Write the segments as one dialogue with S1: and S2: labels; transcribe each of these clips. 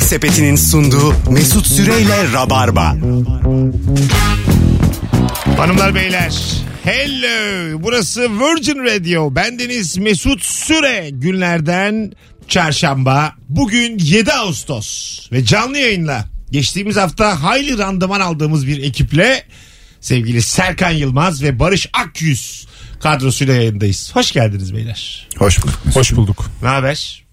S1: Sepeti'nin sunduğu Mesut Süreyle Rabarba.
S2: Hanımlar beyler. Hello. Burası Virgin Radio. Bendeniz Mesut Süre. Günlerden çarşamba. Bugün 7 Ağustos ve canlı yayınla geçtiğimiz hafta hayli randıman aldığımız bir ekiple sevgili Serkan Yılmaz ve Barış Akyüz kadrosuyla yayındayız. Hoş geldiniz beyler.
S3: Hoş bulduk.
S4: Hoş bulduk.
S2: Ne haber?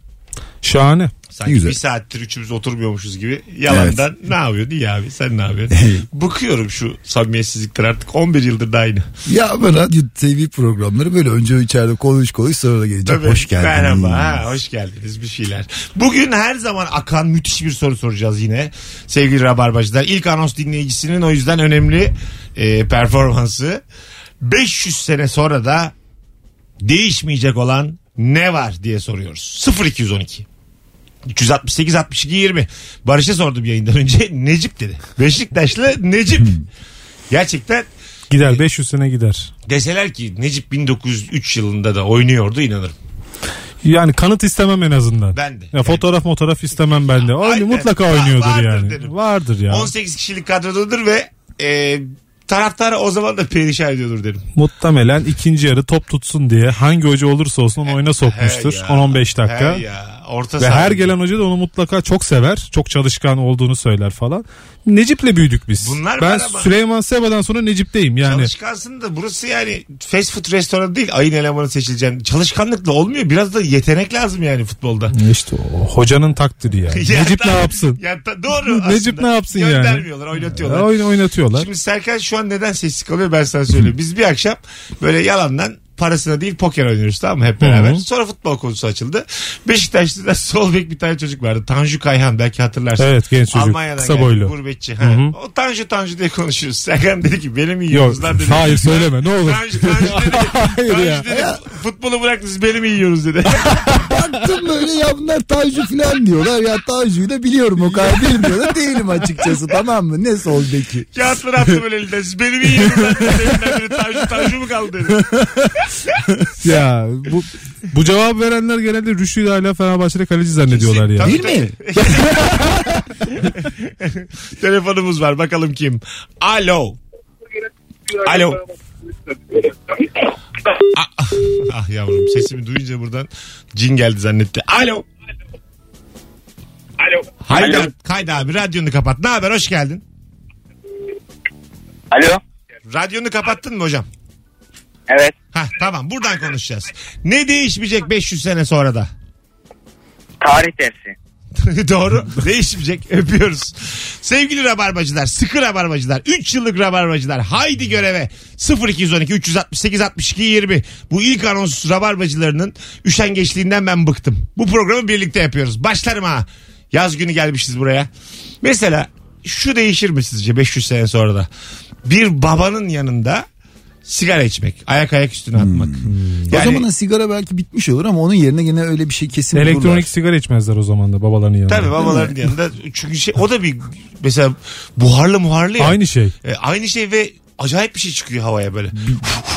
S4: Şahane.
S2: Sanki
S3: Güzel.
S2: bir saattir üçümüz oturmuyormuşuz gibi. Yalandan ne yapıyorsun? İyi abi sen ne yapıyorsun? Bıkıyorum şu samimiyetsizlikler artık 11 yıldır da aynı.
S3: Ya ben radyo TV programları böyle önce içeride konuş konuş sonra da gelecek.
S2: Tabii.
S3: Hoş geldiniz.
S2: Merhaba, ha, hoş geldiniz bir şeyler. Bugün her zaman akan müthiş bir soru soracağız yine. Sevgili Rabarbacılar, ilk anons dinleyicisinin o yüzden önemli e, performansı. 500 sene sonra da değişmeyecek olan ne var diye soruyoruz. 0212 368 62 20. Barış'a sordum yayından önce Necip dedi. Beşiktaşlı Necip.
S4: Hmm.
S2: Gerçekten
S4: Gider 500 sene gider.
S2: deseler ki Necip 1903 yılında da oynuyordu inanırım.
S4: Yani kanıt istemem en azından.
S2: Ben de.
S4: Ya fotoğraf motoraf istemem ben de. Oyunu
S2: Aynen.
S4: mutlaka
S2: Va-
S4: oynuyordur
S2: vardır
S4: yani.
S2: derim.
S4: Vardır ya.
S2: 18 kişilik kadrodadır ve e, taraftarı o zaman da perişan ediyordur derim.
S4: Muhtemelen ikinci yarı top tutsun diye hangi hoca olursa olsun onu oyuna sokmuştur.
S2: He ya,
S4: 10-15 dakika.
S2: he ya, orta
S4: Ve
S2: saha.
S4: her gelen hoca da onu mutlaka çok sever. Çok çalışkan olduğunu söyler falan. Necip'le büyüdük biz.
S2: Bunlar
S4: ben
S2: var ama-
S4: Süleyman Seba'dan sonra Necip'teyim yani.
S2: Çalışkansın da burası yani fast food restoranı değil ayın elemanı seçileceksin. Çalışkanlıkla olmuyor biraz da yetenek lazım yani futbolda.
S4: İşte o hocanın takdiri yani.
S2: Ya
S4: Necip
S2: da-
S4: ne yapsın?
S2: Ya da- doğru aslında.
S4: Necip ne yapsın yani?
S2: Göndermiyorlar oynatıyorlar.
S4: Oyun oynatıyorlar.
S2: Şimdi Serkan şu an neden sessiz kalıyor ben sana söyleyeyim. Biz bir akşam böyle yalandan parasına değil poker oynuyoruz tamam mı hep beraber.
S4: Hı hı.
S2: Sonra futbol konusu açıldı. Beşiktaşlı'da sol bek bir tane çocuk vardı. Tanju Kayhan belki hatırlarsın.
S4: Evet, genç çocuk.
S2: Almanya'dan
S4: Kısa
S2: geldi,
S4: boylu.
S2: Gurbetçi. Ha.
S4: hı.
S2: O Tanju Tanju diye konuşuyoruz. Serkan dedi ki benim iyi
S4: Yok.
S2: yiyoruz lan dedi.
S4: Hayır söyleme ne olur.
S2: Tanju, Tanju dedi,
S4: Hayır
S2: Tanju
S4: ya.
S2: dedi futbolu bıraktınız beni mi yiyoruz dedi.
S3: Baktım böyle ya bunlar Tanju falan diyorlar. Ya Tanju'yu da biliyorum o kadar bilmiyor da değilim açıkçası tamam mı? Ne sol beki?
S2: Kağıtları attı böyle elinden. Siz beni mi yiyorsunuz lan dedi. Elinden biri Tanju Tanju mu kaldı dedi.
S4: Ya bu bu cevap verenler genelde Rüştü'yü de hala Fenerbahçe'de kaleci zannediyorlar ya.
S2: Tabii,
S3: Değil mi?
S2: tabii. Telefonumuz var bakalım kim? Alo. Alo. Ah, ah yavrum sesimi duyunca buradan cin geldi zannetti. Alo.
S5: Alo.
S2: Hayda,
S5: Alo.
S2: hayda abi radyonu kapat. Ne haber hoş geldin.
S5: Alo.
S2: Radyonu kapattın mı hocam?
S5: Evet.
S2: Hah tamam buradan konuşacağız. Ne değişmeyecek 500 sene sonra da?
S5: Tarih dersi.
S2: Doğru. Değişmeyecek. Öpüyoruz. Sevgili rabarbacılar, sıkı rabarbacılar, 3 yıllık rabarbacılar haydi göreve 0212 368 62 20. Bu ilk anons rabarbacılarının üşengeçliğinden ben bıktım. Bu programı birlikte yapıyoruz. Başlarım ha. Yaz günü gelmişiz buraya. Mesela şu değişir mi sizce 500 sene sonra da? Bir babanın yanında sigara içmek, ayak ayak üstüne atmak.
S3: O zamanın sigara belki bitmiş olur ama onun yerine gene öyle bir şey kesin
S4: Elektronik
S3: bulurlar.
S4: sigara içmezler o zaman da babaların yanında.
S2: Tabii babaların yanında. Çünkü şey, o da bir mesela buharlı muharlı ya.
S4: Aynı şey.
S2: E, aynı şey ve acayip bir şey çıkıyor havaya böyle.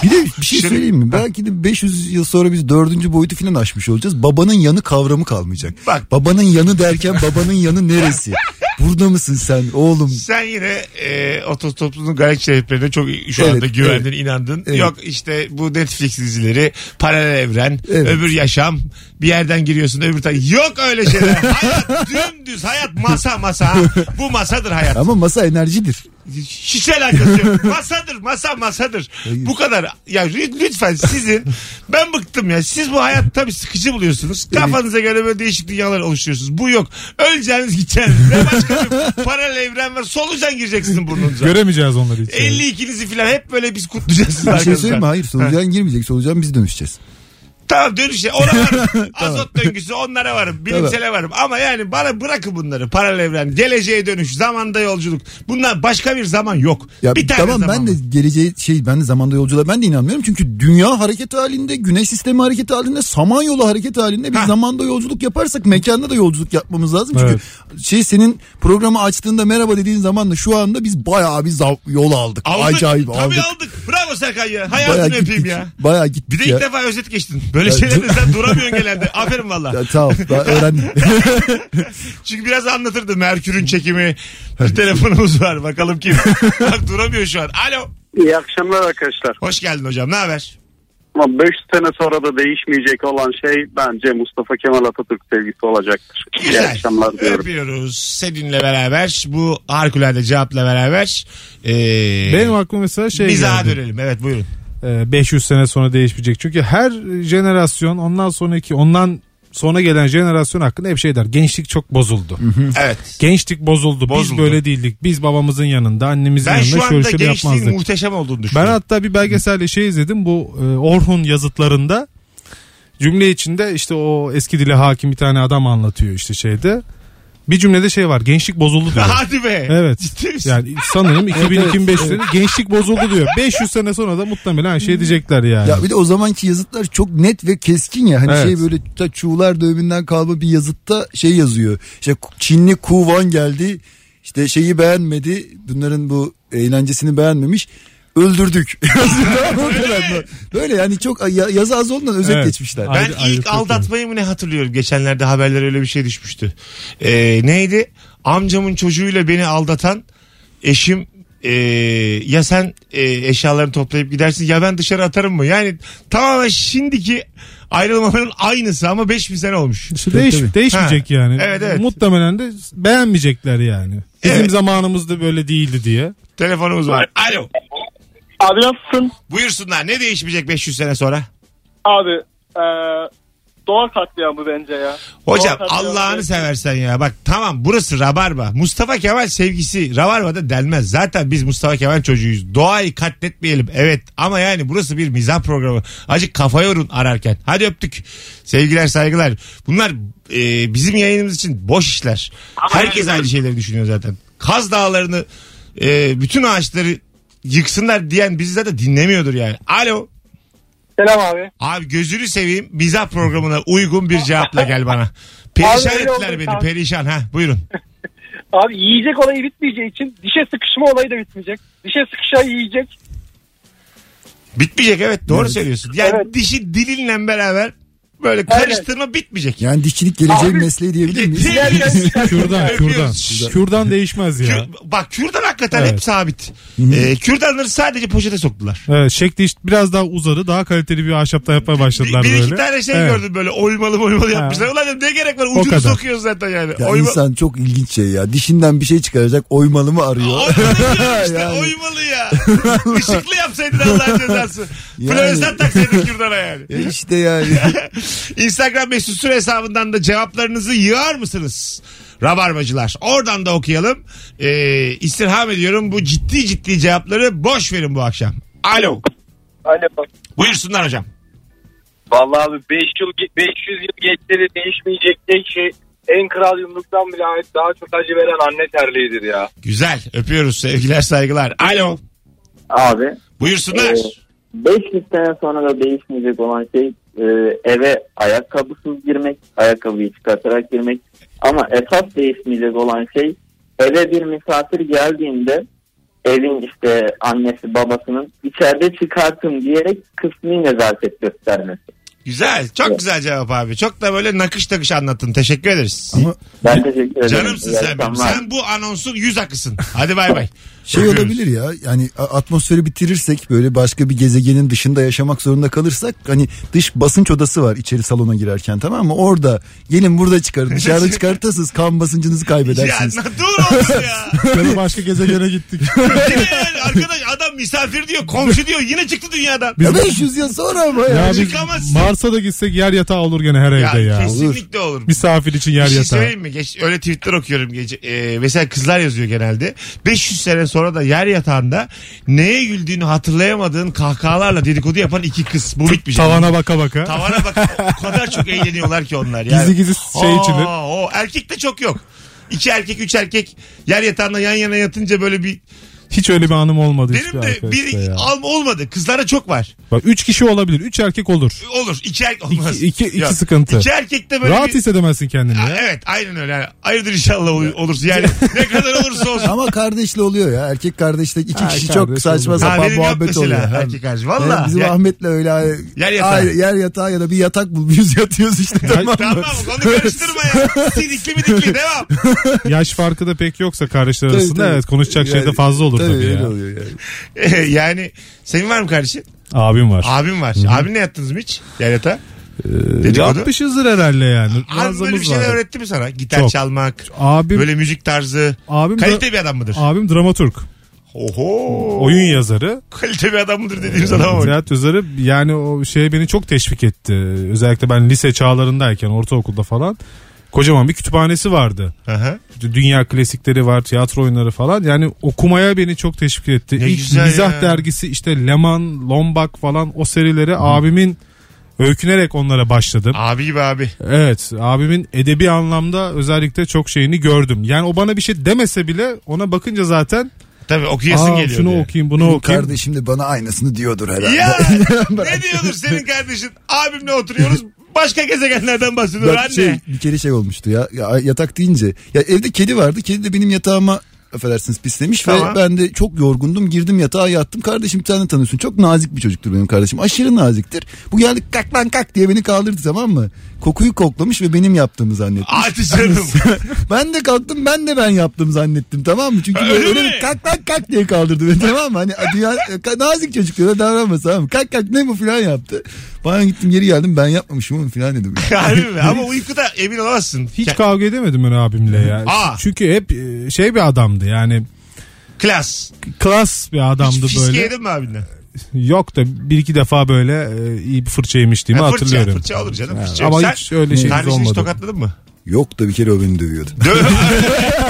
S3: Bir de bir şey söyleyeyim mi? Belki de 500 yıl sonra biz dördüncü boyutu falan aşmış olacağız. Babanın yanı kavramı kalmayacak.
S2: Bak.
S3: Babanın yanı derken babanın yanı neresi? Burada mısın sen oğlum?
S2: Sen yine e, otostoplunun garaj şeriflerine çok şu anda
S3: Evet,
S2: güvendin, inandın.
S3: Evet.
S2: Yok işte bu Netflix dizileri, paralel evren,
S3: Evet.
S2: öbür yaşam, bir yerden giriyorsun öbür tarafa. Yok öyle şeyler. hayat dümdüz, hayat masa masa. Bu masadır hayat.
S3: Ama masa enerjidir.
S2: Hiç alakası yok. Masadır masa masadır. Bu kadar. Ya lü- lütfen sizin ben bıktım ya. Siz bu hayat tabii sıkıcı buluyorsunuz. Kafanıza göre böyle değişik dünyalar oluşturuyorsunuz. Bu yok. Öleceğiniz gideceğiniz. Ne başka bir paralel evren var. Solucan gireceksiniz burnunuza.
S4: Göremeyeceğiz onları hiç.
S2: 52'nizi falan hep böyle biz kutlayacağız siz
S3: Bir şey
S2: arkanızdan.
S3: söyleyeyim mi? Hayır solucan girmeyecek. Solucan biz dönüşeceğiz.
S2: Tamam dönüşe ona varım. Azot döngüsü onlara varım. Bilimsele varım. Ama yani bana bırakın bunları. Paralel evren, geleceğe dönüş, zamanda yolculuk. Bunlar başka bir zaman yok.
S3: Ya
S2: bir tane
S3: tamam
S2: zaman
S3: ben de
S2: var.
S3: geleceğe şey ben de zamanda yolculuğa ben de inanmıyorum. Çünkü dünya hareket halinde, güneş sistemi hareket halinde, samanyolu hareket halinde biz
S2: Ha.
S3: zamanda yolculuk yaparsak mekanda da yolculuk yapmamız lazım. Çünkü şey senin programı açtığında merhaba dediğin zaman da şu anda biz bayağı bir zav- yol aldık.
S2: Aldık.
S3: Acayip
S2: Tabii
S3: aldık.
S2: aldık. Bravo Serkan ya. Hayatını öpeyim
S3: gittik.
S2: ya.
S3: Bayağı gittik
S2: Bir de ilk
S3: ya.
S2: defa özet geçtin. Böyle Böyle şeylerde sen duramıyorsun genelde. Aferin valla.
S3: Ya, tamam daha öğrendim.
S2: Çünkü biraz anlatırdı Merkür'ün çekimi. Bir telefonumuz var bakalım kim. Bak duramıyor şu an. Alo.
S6: İyi akşamlar arkadaşlar.
S2: Hoş geldin hocam ne haber?
S6: Ama 5 sene sonra da değişmeyecek olan şey bence Mustafa Kemal Atatürk sevgisi olacaktır. İyi
S2: Güzel.
S6: akşamlar diyorum.
S2: Öpüyoruz. Seninle beraber bu harikulade cevapla beraber. ee,
S4: Benim aklıma mesela şey
S2: biz daha
S4: geldi.
S2: dönelim. Evet buyurun.
S4: Ee, 500 sene sonra değişmeyecek. Çünkü her jenerasyon ondan sonraki ondan sonra gelen jenerasyon hakkında hep şey der. Gençlik çok bozuldu.
S2: Evet.
S4: Gençlik bozuldu.
S2: Bozuldu.
S4: Biz böyle değildik. Biz babamızın yanında, annemizin
S2: Ben şu
S4: yanında şöyle
S2: anda
S4: şöyle şey
S2: gençliğin
S4: yapmazdık.
S2: muhteşem olduğunu
S4: Ben
S2: düşünüyorum.
S4: hatta bir belgeselde şey izledim bu e, Orhun yazıtlarında cümle içinde işte o eski dile hakim bir tane adam anlatıyor işte şeyde. Bir cümlede şey var gençlik bozuldu diyor.
S2: Hadi be.
S4: Evet.
S2: Ciddi misin?
S4: Yani sanırım 2000-2005'te gençlik bozuldu diyor. 500 sene sonra da muhtemelen şey diyecekler yani.
S3: ya bir de o zamanki yazıtlar çok net ve keskin ya. Hani
S4: Evet.
S3: şey böyle ta Çuğlar döneminden kalma bir yazıtta şey yazıyor. İşte Çinli Kuvan geldi. işte şeyi beğenmedi. Bunların bu eğlencesini beğenmemiş. Öldürdük. O kadar. böyle yani çok ya- yazı az olduğundan özet
S4: Evet.
S3: geçmişler.
S4: Ay-
S2: Ben
S4: Ayrı- ayrı
S2: ilk
S4: farklı.
S2: aldatmayı mı ne hatırlıyorum. Geçenlerde haberlere öyle bir şey düşmüştü. Ee, neydi? Amcamın çocuğuyla beni aldatan eşim ee, ya sen ee, eşyalarını toplayıp gidersin ya ben dışarı atarım mı? Yani tamamen şimdiki ayrılmaların aynısı ama 5000 sene olmuş.
S4: İşte değiş-
S3: tabii.
S4: değişmeyecek
S2: Ha.
S4: yani.
S2: Evet, evet.
S4: Muhtemelen de beğenmeyecekler yani. Bizim
S2: Evet.
S4: zamanımızda böyle değildi diye.
S2: Telefonumuz var. Alo.
S7: Abi nasılsın?
S2: Buyursunlar. Ne değişmeyecek 500 sene sonra?
S7: Abi e, doğa katliamı bence ya.
S2: Hocam
S7: Doğru, tabii,
S2: Allah'ını
S7: tabii.
S2: seversen ya. Bak tamam burası Rabarba. Mustafa Kemal sevgisi Rabarba'da delmez. Zaten biz Mustafa Kemal çocuğuyuz. Doğayı katletmeyelim. Evet ama yani burası bir mizah programı. Acık kafa yorun ararken. Hadi öptük. Sevgiler saygılar. Bunlar e, bizim yayınımız için boş işler. Herkes aynı şeyleri düşünüyor zaten. Kaz dağlarını e, bütün ağaçları yıksınlar diyen bizi zaten dinlemiyordur yani. Alo.
S7: Selam abi.
S2: Abi gözünü seveyim mizah programına uygun bir cevapla gel bana. Perişan
S7: Abi öyle
S2: ettiler
S7: oldu
S2: beni
S7: kanka.
S2: perişan ha buyurun.
S7: Abi yiyecek olayı bitmeyeceği için dişe sıkışma olayı da bitmeyecek. Dişe sıkışan yiyecek.
S2: Bitmeyecek evet doğru söylüyorsun. Yani
S7: Evet.
S2: dişi dilinle beraber böyle karıştırma bitmeyecek.
S3: Yani dişçilik geleceğin mesleği diyebilir miyiz?
S4: Kürdan, kürdan.
S2: Öpüyoruz.
S4: Kürdan değişmez ya.
S2: Kür- bak kürdan hakikaten
S4: Evet.
S2: hep sabit. Ee, kürdanları sadece poşete soktular.
S4: Evet, şekli işte biraz daha uzadı. Daha kaliteli bir ahşaptan yapmaya başladılar
S2: Bir, bir
S4: böyle.
S2: iki tane şey
S4: Evet.
S2: gördüm böyle oymalı oymalı yapmışlar. Ulan dedim, ne gerek var ucunu
S4: kadar.
S2: sokuyoruz zaten yani.
S3: Ya
S2: Oyma-
S3: insan çok ilginç şey ya. Dişinden bir şey çıkaracak oymalı mı arıyor?
S2: Oymalı diyorum işte
S3: Yani.
S2: oymalı ya. Işıklı yapsaydın Allah'ın cezası.
S3: Yani.
S2: Floresan taksaydın kürdana yani.
S3: E işte yani.
S2: Instagram mesut süre hesabından da cevaplarınızı yığar mısınız? Rabarbacılar. Oradan da okuyalım. Ee, istirham ediyorum bu ciddi ciddi cevapları boş verin bu akşam. Alo.
S7: Alo.
S2: Buyursunlar hocam.
S7: Hani Vallahi abi 5 yıl 500 yıl geçleri değişmeyecek tek şey en kral yumruktan bile daha çok acı veren anne terliğidir ya.
S2: Güzel. Öpüyoruz. Sevgiler saygılar. Alo.
S5: Abi
S2: Buyursunlar.
S5: Ee, 500 sene sonra da değişmeyecek olan şey e, eve ayakkabısız girmek, ayakkabıyı çıkartarak girmek. Ama esas değişmeyecek olan şey eve bir misafir geldiğinde evin işte annesi babasının içeride çıkartın diyerek kısmi nezaket göstermesi.
S2: Güzel. Çok güzel cevap abi. Çok da böyle nakış takış anlattın. Teşekkür ederiz.
S3: Ama
S5: Ben teşekkür ederim.
S2: Canımsın
S5: İyi
S2: sen benim.
S5: akşamlar.
S2: Sen bu anonsun yüz akısın. Hadi bay bay.
S3: şey
S2: Öpüyoruz.
S3: olabilir ya yani a- atmosferi bitirirsek böyle başka bir gezegenin dışında yaşamak zorunda kalırsak hani dış basınç odası var içeri salona girerken tamam mı orada gelin burada çıkarın dışarıda çıkartırsınız kan basıncınızı
S2: Ya
S3: kaybedersiniz.
S2: ne dur olsun ya.
S4: Sonra başka gezegene gittik.
S2: Yine yani arkadaş adam misafir diyor, komşu diyor. Yine çıktı dünyadan.
S3: Ya 500 yıl sonra ama ya.
S4: ya biz
S2: Çıkamazsın.
S4: Mars'a da gitsek yer yatağı olur gene her
S2: Ya,
S4: evde ya.
S2: kesinlikle olur.
S4: Misafir için
S2: Bir
S4: yer
S2: şey
S4: yatağı.
S2: söyleyeyim mi? Geç, öyle tweetler okuyorum gece. Ee, mesela kızlar yazıyor genelde. 500 sene sonra da yer yatağında neye güldüğünü hatırlayamadığın kahkahalarla dedikodu yapan iki kız. Bu bitmeyecek.
S4: Tavana baka baka.
S2: Tavana bak. O kadar çok eğleniyorlar ki onlar. Yani.
S4: Gizli gizli şey
S2: Aa,
S4: içilir.
S2: O erkek de çok yok. İki erkek, üç erkek yer yatağında yan yana yatınca böyle bir
S4: Hiç öyle bir anım olmadı. hiçbir
S2: Benim de
S4: arkadaşla
S2: bir
S4: ya.
S2: alma olmadı. Kızlara çok var.
S4: Bak 3 kişi olabilir. 3 erkek olur.
S2: Olur. İki erkek olmaz.
S4: İki- iki- iki
S2: Yok.
S4: sıkıntı.
S2: İki erkekte böyle
S4: Rahat
S2: bir...
S4: hissedemezsin kendini
S2: Ha,
S4: ya.
S2: evet aynen öyle. Yani Hayırdır inşallah ol- olursun. Yani ne kadar olursa olsun.
S3: Ama kardeşle oluyor ya. Erkek kardeşle iki
S4: Ha,
S3: kişi çok
S4: kardeşle
S3: saçma
S4: oluyor.
S2: Ha,
S3: sapan
S2: benim yok
S3: muhabbet
S2: mesela
S3: oluyor. Ha.
S2: erkek kardeş. Valla.
S3: Evet, bizim
S2: Ya-
S3: Ahmet'le öyle ay-
S2: Yer yatağı.
S3: ay- yer yatağı ya da bir yatak bulmuyoruz yatıyoruz işte tamam mı?
S2: Tamam konu karıştırma ya. Sidikli mi dikli devam.
S4: Yaş farkı da pek yoksa kardeşler
S3: Tabii,
S4: arasında
S3: tabii.
S4: evet konuşacak şey de
S3: Yani,
S4: fazla olur tabii,
S3: öyle
S4: ya.
S3: oluyor yani.
S2: Ee, yani senin var mı kardeşin?
S4: Abim var.
S2: Abim var. Abinle yattınız mı hiç? Yer yatağı. dedikodu.
S4: Yapmışızdır herhalde yani.
S2: Abi böyle bir
S4: Razımız
S2: şeyler
S4: Ee, var.
S2: öğretti mi sana? Gitar
S4: Çok.
S2: çalmak,
S4: Abim,
S2: böyle müzik tarzı.
S4: abim, dra-
S2: Kalite bir şey. adam mıdır?
S4: abim dramaturg.
S2: Oho.
S4: Oyun yazarı.
S2: Kalite bir adam mıdır dediğimiz adam var.
S4: Ziraat yazarı yani o şey beni çok teşvik etti. Özellikle ben lise çağlarındayken ortaokulda falan kocaman bir kütüphanesi vardı.
S2: Aha.
S4: Dünya klasikleri var, tiyatro oyunları falan. Yani okumaya beni çok teşvik etti.
S2: Ne
S4: İlk
S2: güzel
S4: mizah
S2: ya.
S4: dergisi işte Leman, Lombak falan o serileri abimin öykünerek onlara başladım.
S2: Abi gibi abi.
S4: Evet abimin edebi anlamda özellikle çok şeyini gördüm. Yani o bana bir şey demese bile ona bakınca zaten
S2: Tabii okuyasın
S4: Aa,
S2: geliyor.
S4: şunu
S2: diye.
S4: okuyayım bunu okuyayım.
S3: Kardeşim de bana aynısını diyordur herhalde.
S2: Ya ne diyordur senin kardeşin? Abimle oturuyoruz. Başka gezegenlerden bahsediyor
S3: Bak
S2: anne.
S3: şey, bir kere şey olmuştu ya, ya yatak deyince. Ya evde kedi vardı. Kedi de benim yatağıma affedersiniz pislemiş
S2: Tamam.
S3: ve ben de çok yorgundum girdim yatağa yattım kardeşim bir tane tanıyorsun çok nazik bir çocuktur benim kardeşim aşırı naziktir bu geldi kalk lan kalk diye beni kaldırdı tamam mı kokuyu koklamış ve benim yaptığımı zannetti
S2: Hadi canım.
S3: ben de kalktım ben de ben yaptım zannettim tamam mı? Çünkü
S2: Öyle
S3: böyle öyle
S2: mi?
S3: bir kalk kalk kalk diye kaldırdı beni tamam mı? Hani dünya, nazik çocuklara davranmasa tamam mı? Kalk kalk ne bu filan yaptı. Bana gittim geri geldim ben yapmamışım oğlum filan dedim.
S2: Harbi mi? Ama uykuda emin olamazsın.
S4: Hiç kavga edemedim ben abimle ya.
S2: Aa.
S4: Çünkü hep e, şey bir adamdı yani
S2: Klas.
S4: klas bir adamdı
S2: Hiç
S4: böyle.
S2: fiske yedin mi abinden?
S4: Yok da bir iki defa böyle e, iyi bir fırça yemiştiğimi
S2: Ha, fırça,
S4: hatırlıyorum.
S2: fırça olur canım.
S4: Ha,
S2: Fırça.
S4: Ama
S2: Sen
S4: hiç öyle şey
S2: Kardeşini hiç
S4: olmadı.
S2: tokatladın mı?
S3: Yok da bir kere o beni dövüyordu.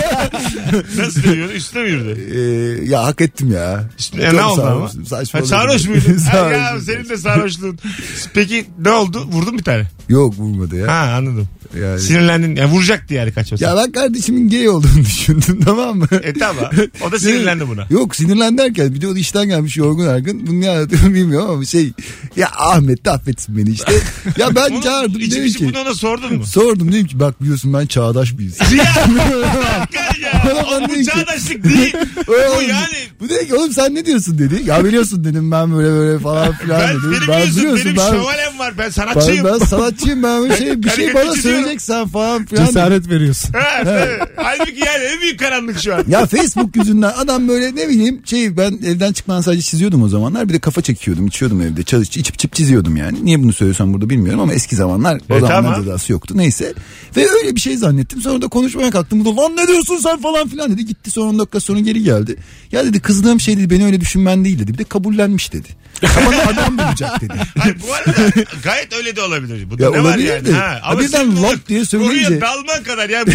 S2: Nasıl dövüyordu? Üstüne mi yürüdü?
S3: Ee, ya hak ettim ya.
S2: Üstüne,
S3: Çok
S2: e, ne oldu
S3: sarhoş-
S2: ama? Ha,
S3: Saçmaladım.
S2: sarhoş muydun? Ha, ya
S3: Sarhoş. şey.
S2: senin de sarhoşluğun. Peki ne oldu? Vurdun bir tane.
S3: Yok vurmadı ya.
S2: Ha anladım.
S3: Yani.
S2: Sinirlendin. Yani vuracaktı yani kaçmasın.
S3: Ya ben kardeşimin gay olduğunu düşündüm tamam mı?
S2: E tamam. O da sinirlendi buna.
S3: Yok sinirlen derken bir de o da işten gelmiş yorgun argın. Bunu ne anlatıyorum bilmiyorum ama şey ya Ahmet de affetsin beni işte. Ya ben
S2: Onu-
S3: çağırdım
S2: içim
S3: dedim
S2: içim
S3: ki.
S2: bunu ona sordun mu?
S3: Sordum dedim ki bak biliyorsun ben çağdaş bir insan.
S2: Ya, hakikaten ya. Oğlum bu
S3: Anladın ki.
S2: çağdaşlık değil. Bu
S3: Oğlum,
S2: yani
S3: Bu dedi ki oğlum sen ne diyorsun dedi. Ya biliyorsun dedim ben böyle böyle falan filan
S2: ben,
S3: dedim.
S2: benim
S3: ben
S2: biliyorsun, benim
S3: ben,
S2: şövalem var. Ben
S3: ben,
S2: sanatçıyım.
S3: ben sanatçıyım ben böyle şey bir şey bana
S2: Karikatürcü diyorum.
S3: söyleyeceksen falan filan. dedi.
S4: Cesaret veriyorsun.
S2: Ha, tabii. Halbuki yani en büyük karanlık şu an.
S3: Ya Facebook yüzünden adam böyle ne bileyim şey ben evden çıkmadan sadece çiziyordum o zamanlar. Bir de kafa çekiyordum içiyordum evde çalış içip çip çiziyordum yani. Niye bunu söylüyorsam burada bilmiyorum ama eski zamanlar o
S2: E,
S3: zamanlar
S2: tamam.
S3: cezası yoktu neyse. Ve öyle bir şey zannettim sonra da konuşmaya kalktım. Bu da lan ne diyorsun sen falan filan dedi. Gitti sonra 10 dakika sonra geri geldi. Ya dedi kızdığım şey dedi beni öyle düşünmen değil dedi. Bir de kabullenmiş dedi. Ama adam bulacak dedi.
S2: Hayır, bu arada gayet öyle de olabilir. Bu da
S3: Ya
S2: ne var
S3: olabilir
S2: yani?
S3: de.
S2: Ha,
S3: Ha, birden
S2: sen
S3: lap diye söyleyince-
S2: Konuya dalman kadar yani. Bu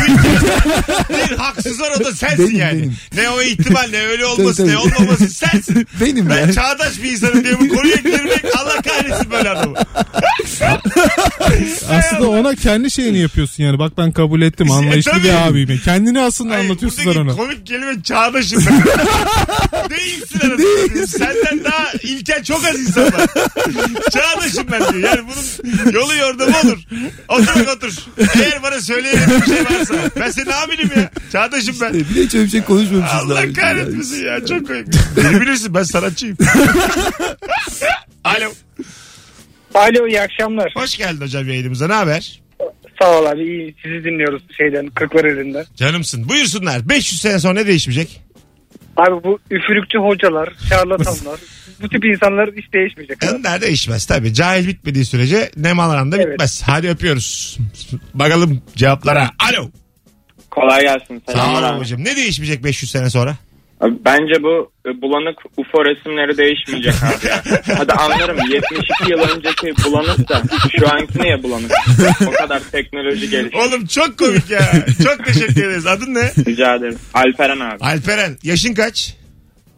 S2: bir haksız olan da sensin
S3: Benim,
S2: yani.
S3: benim.
S2: Ne o ihtimal ne öyle olması
S3: Tabii,
S2: ne
S3: tabii.
S2: olmaması sensin.
S3: Benim
S2: Ben
S3: yani.
S2: çağdaş bir insanım diye bu konuya girmek Allah kahretsin böyle adamı.
S4: aslında ona kendi şeyini yapıyorsun yani. Bak ben kabul ettim anlayışlı
S2: E, tabii.
S4: bir abime. Kendini aslında
S2: Hayır,
S4: anlatıyorsun
S2: buradaki
S4: sen ona.
S2: komik kelime çağdaşım. Değilsin arasında. Senden daha ilkel çok az insan var. çağdaşım ben diyor. Yani bunun yolu yordamı olur. Otur otur. Eğer bana söyleyebileceğin bir şey varsa. Ben senin abinim ya. Çağdaşım ben.
S3: Bir de hiç öyle bir şey konuşmamışız. daha
S2: Allah
S3: önce.
S2: kahretmesin ya. Çok komik. Beni bilirsin ben sanatçıyım. Alo.
S8: Alo iyi akşamlar.
S2: Hoş geldin hocam yayınımıza. Ne haber?
S8: Sağ ol abi iyi. Sizi dinliyoruz şeyden Kırklareli'nden.
S2: Canımsın. Buyursunlar. 500 sene sonra ne değişmeyecek?
S8: Abi bu üfürükçü hocalar, şarlatanlar bu tip insanlar hiç değişmeyecek. abi.
S2: Onlar değişmez tabii. Cahil bitmediği sürece nem alan da
S8: Evet.
S2: bitmez. Hadi öpüyoruz. Bakalım cevaplara. Alo.
S5: Kolay gelsin.
S2: Sağ
S5: Selamlar
S2: ol
S5: abi.
S2: babacığım. Ne değişmeyecek 500 sene sonra?
S5: Abi Bence bu e, bulanık UFO resimleri değişmeyecek abi. ya. Hadi anlarım 72 yıl önceki bulanık da şu anki neye bulanık? O kadar teknoloji gelişti.
S2: Oğlum çok komik ya. çok teşekkür ederiz. Adın ne?
S5: Rica ederim. Alperen abi.
S2: Alperen. Yaşın kaç?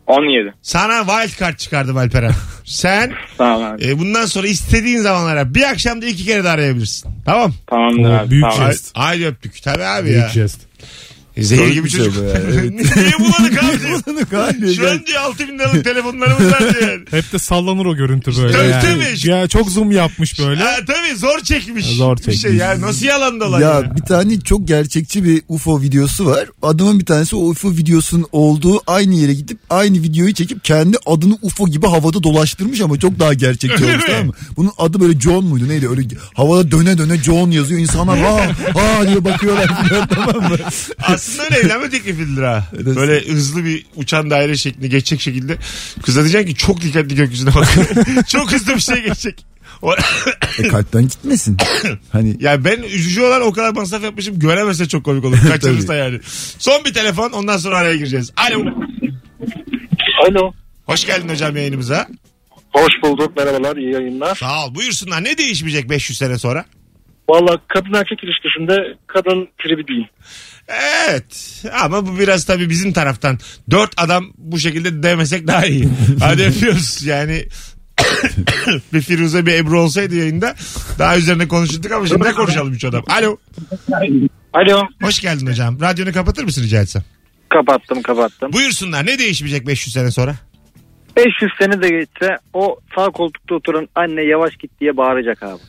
S5: 17.
S2: Sana wild card çıkardım Alperen. Sen
S5: Sağ ol abi.
S2: e, bundan sonra istediğin zamanlara bir akşamda iki kere de arayabilirsin. Tamam.
S5: Tamamdır
S4: O
S5: abi.
S4: büyük
S5: Sağ ol.
S4: şey.
S2: Haydi öptük. Tabii abi ya. E,
S4: Büyük jest.
S2: Zehir gibi
S3: bir şey
S2: çocuk.
S3: bu yani, evet.
S2: Niye bulanık abi diyor.
S3: Kalbim.
S2: Şu an diyor 6000 liralık telefonlarımız var diyor yani.
S4: Hep de sallanır o görüntü böyle.
S2: Tabii,
S4: yani.
S2: tabii.
S4: Ya çok zoom yapmış böyle.
S2: Ha, tabii zor çekmiş.
S4: Zor
S2: Bir şey
S4: çekmiş.
S2: ya nasıl yalan dolan ya.
S3: Ya bir tane çok gerçekçi bir UFO videosu var. Adamın bir tanesi o UFO videosunun olduğu aynı yere gidip aynı videoyu çekip kendi adını UFO gibi havada dolaştırmış ama çok daha gerçekçi
S2: Öyle
S3: olmuş
S2: mi?
S3: tamam mı? Bunun adı böyle John muydu neydi öyle havada döne döne John yazıyor insanlar ha ha diye bakıyorlar filan, tamam mı?
S2: Aslında öyle evlenme teklifidir ha. Böyle hızlı bir uçan daire şeklinde geçecek şekilde. Kıza diyeceksin ki çok dikkatli gökyüzüne bak. çok hızlı bir şey geçecek. O-
S3: E, kalpten gitmesin. Hani
S2: ya ben üzücü olan o kadar masraf yapmışım göremezse çok komik olur. Kaçırırız da yani. Son bir telefon ondan sonra araya gireceğiz. Alo.
S6: Alo.
S2: Hoş geldin hocam yayınımıza.
S6: Hoş bulduk. Merhabalar. iyi yayınlar.
S2: Sağ ol. Buyursunlar ne değişmeyecek 500 sene sonra?
S6: Valla kadın erkek ilişkisinde kadın tribi değil.
S2: Evet ama bu biraz tabii bizim taraftan. Dört adam bu şekilde demesek daha iyi. Hadi yapıyoruz yani. bir Firuze bir Ebru olsaydı yayında daha üzerine konuşurduk ama şimdi ne konuşalım üç adam. Alo.
S6: Alo.
S2: Hoş geldin hocam. Radyonu kapatır mısın rica etsem?
S6: Kapattım kapattım.
S2: Buyursunlar ne değişmeyecek 500 sene sonra?
S5: 500 sene de geçse o sağ koltukta oturan anne yavaş git diye bağıracak abi.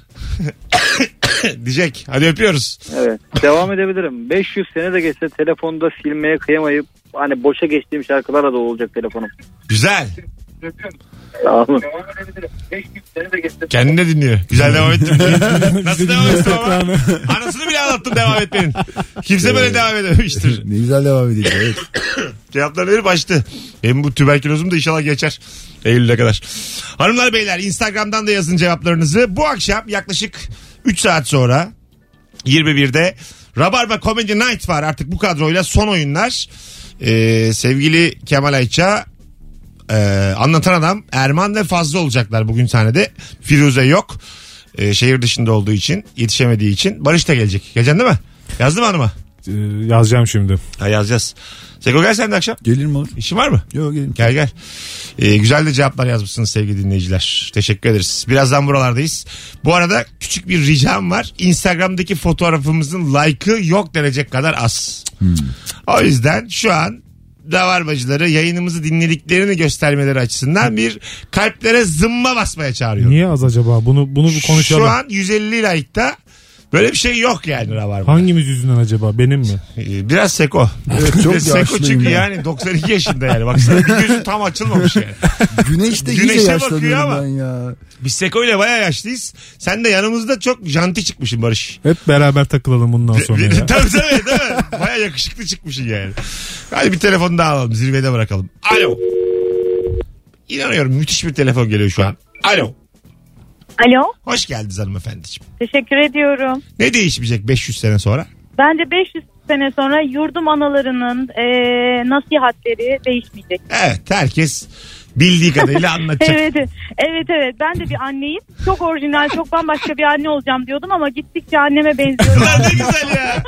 S2: Diyecek. Hadi öpüyoruz.
S5: Evet. Devam edebilirim. 500 sene de geçse telefonda silmeye kıyamayıp hani boşa geçtiğim şarkılarla da olacak telefonum.
S2: Güzel.
S5: Sağ olun.
S2: Kendine dinliyor. Güzel devam ettim. Nasıl devam ettim ama? Anasını bile anlattım devam etmenin. Kimse böyle devam edememiştir.
S3: ne güzel devam ediyor. Evet.
S2: Cevapları verip açtı. Hem bu tüberkülozum da inşallah geçer. Eylül'e kadar. Hanımlar beyler Instagram'dan da yazın cevaplarınızı. Bu akşam yaklaşık 3 saat sonra 21'de Rabarba Comedy Night var artık bu kadroyla son oyunlar. Ee, sevgili Kemal Ayça e, anlatan adam Erman ve Fazlı olacaklar bugün sahnede. Firuze yok. Ee, şehir dışında olduğu için yetişemediği için Barış da gelecek. Geleceksin değil mi? Yazdın mı hanıma?
S4: Ee, yazacağım şimdi.
S2: Ha, yazacağız. Seko gel sen de akşam.
S3: Gelir mi olur?
S2: İşin var mı?
S3: Yok gelirim.
S2: Gel gel. Ee, güzel de cevaplar yazmışsınız sevgili dinleyiciler. Teşekkür ederiz. Birazdan buralardayız. Bu arada küçük bir ricam var. Instagram'daki fotoğrafımızın like'ı yok denecek kadar az. O yüzden şu an davarbacıları yayınımızı dinlediklerini göstermeleri açısından bir kalplere zımba basmaya çağırıyorum.
S4: Niye az acaba? Bunu bunu bir konuşalım.
S2: Şu an 150 like'ta böyle bir şey yok yani rabarba.
S4: Hangimiz yüzünden acaba? Benim mi?
S2: Ee, Biraz seko.
S3: Evet, çok
S2: seko
S3: yaşlıyım
S2: çünkü
S3: ya.
S2: yani 92 yaşında yani. Baksana bir gözü tam açılmamış yani.
S3: Güneşte
S2: Güneşe
S3: iyice
S2: bakıyor
S3: yaşlanıyorum
S2: ama.
S3: ben ya.
S2: Biz Seko ile baya yaşlıyız. Sen de yanımızda çok janti çıkmışsın Barış.
S4: Hep beraber takılalım bundan sonra
S2: tabii
S4: ya.
S2: tabii değil mi? Baya yakışıklı çıkmışsın yani. Hadi bir telefon daha alalım zirvede bırakalım. Alo. İnanıyorum müthiş bir telefon geliyor şu an. Alo.
S9: Alo,
S2: Hoş geldiniz hanımefendiciğim.
S9: teşekkür ediyorum.
S2: Ne değişmeyecek 500 sene sonra?
S9: Bence 500 sene sonra yurdum analarının eee, nasihatleri değişmeyecek.
S2: Evet herkes bildiği kadarıyla anlatacak.
S9: Evet, evet, evet. Ben de bir anneyim. Çok orijinal, çok bambaşka bir anne olacağım diyordum ama gittikçe anneme benziyorum.
S2: Ulan ne güzel ya.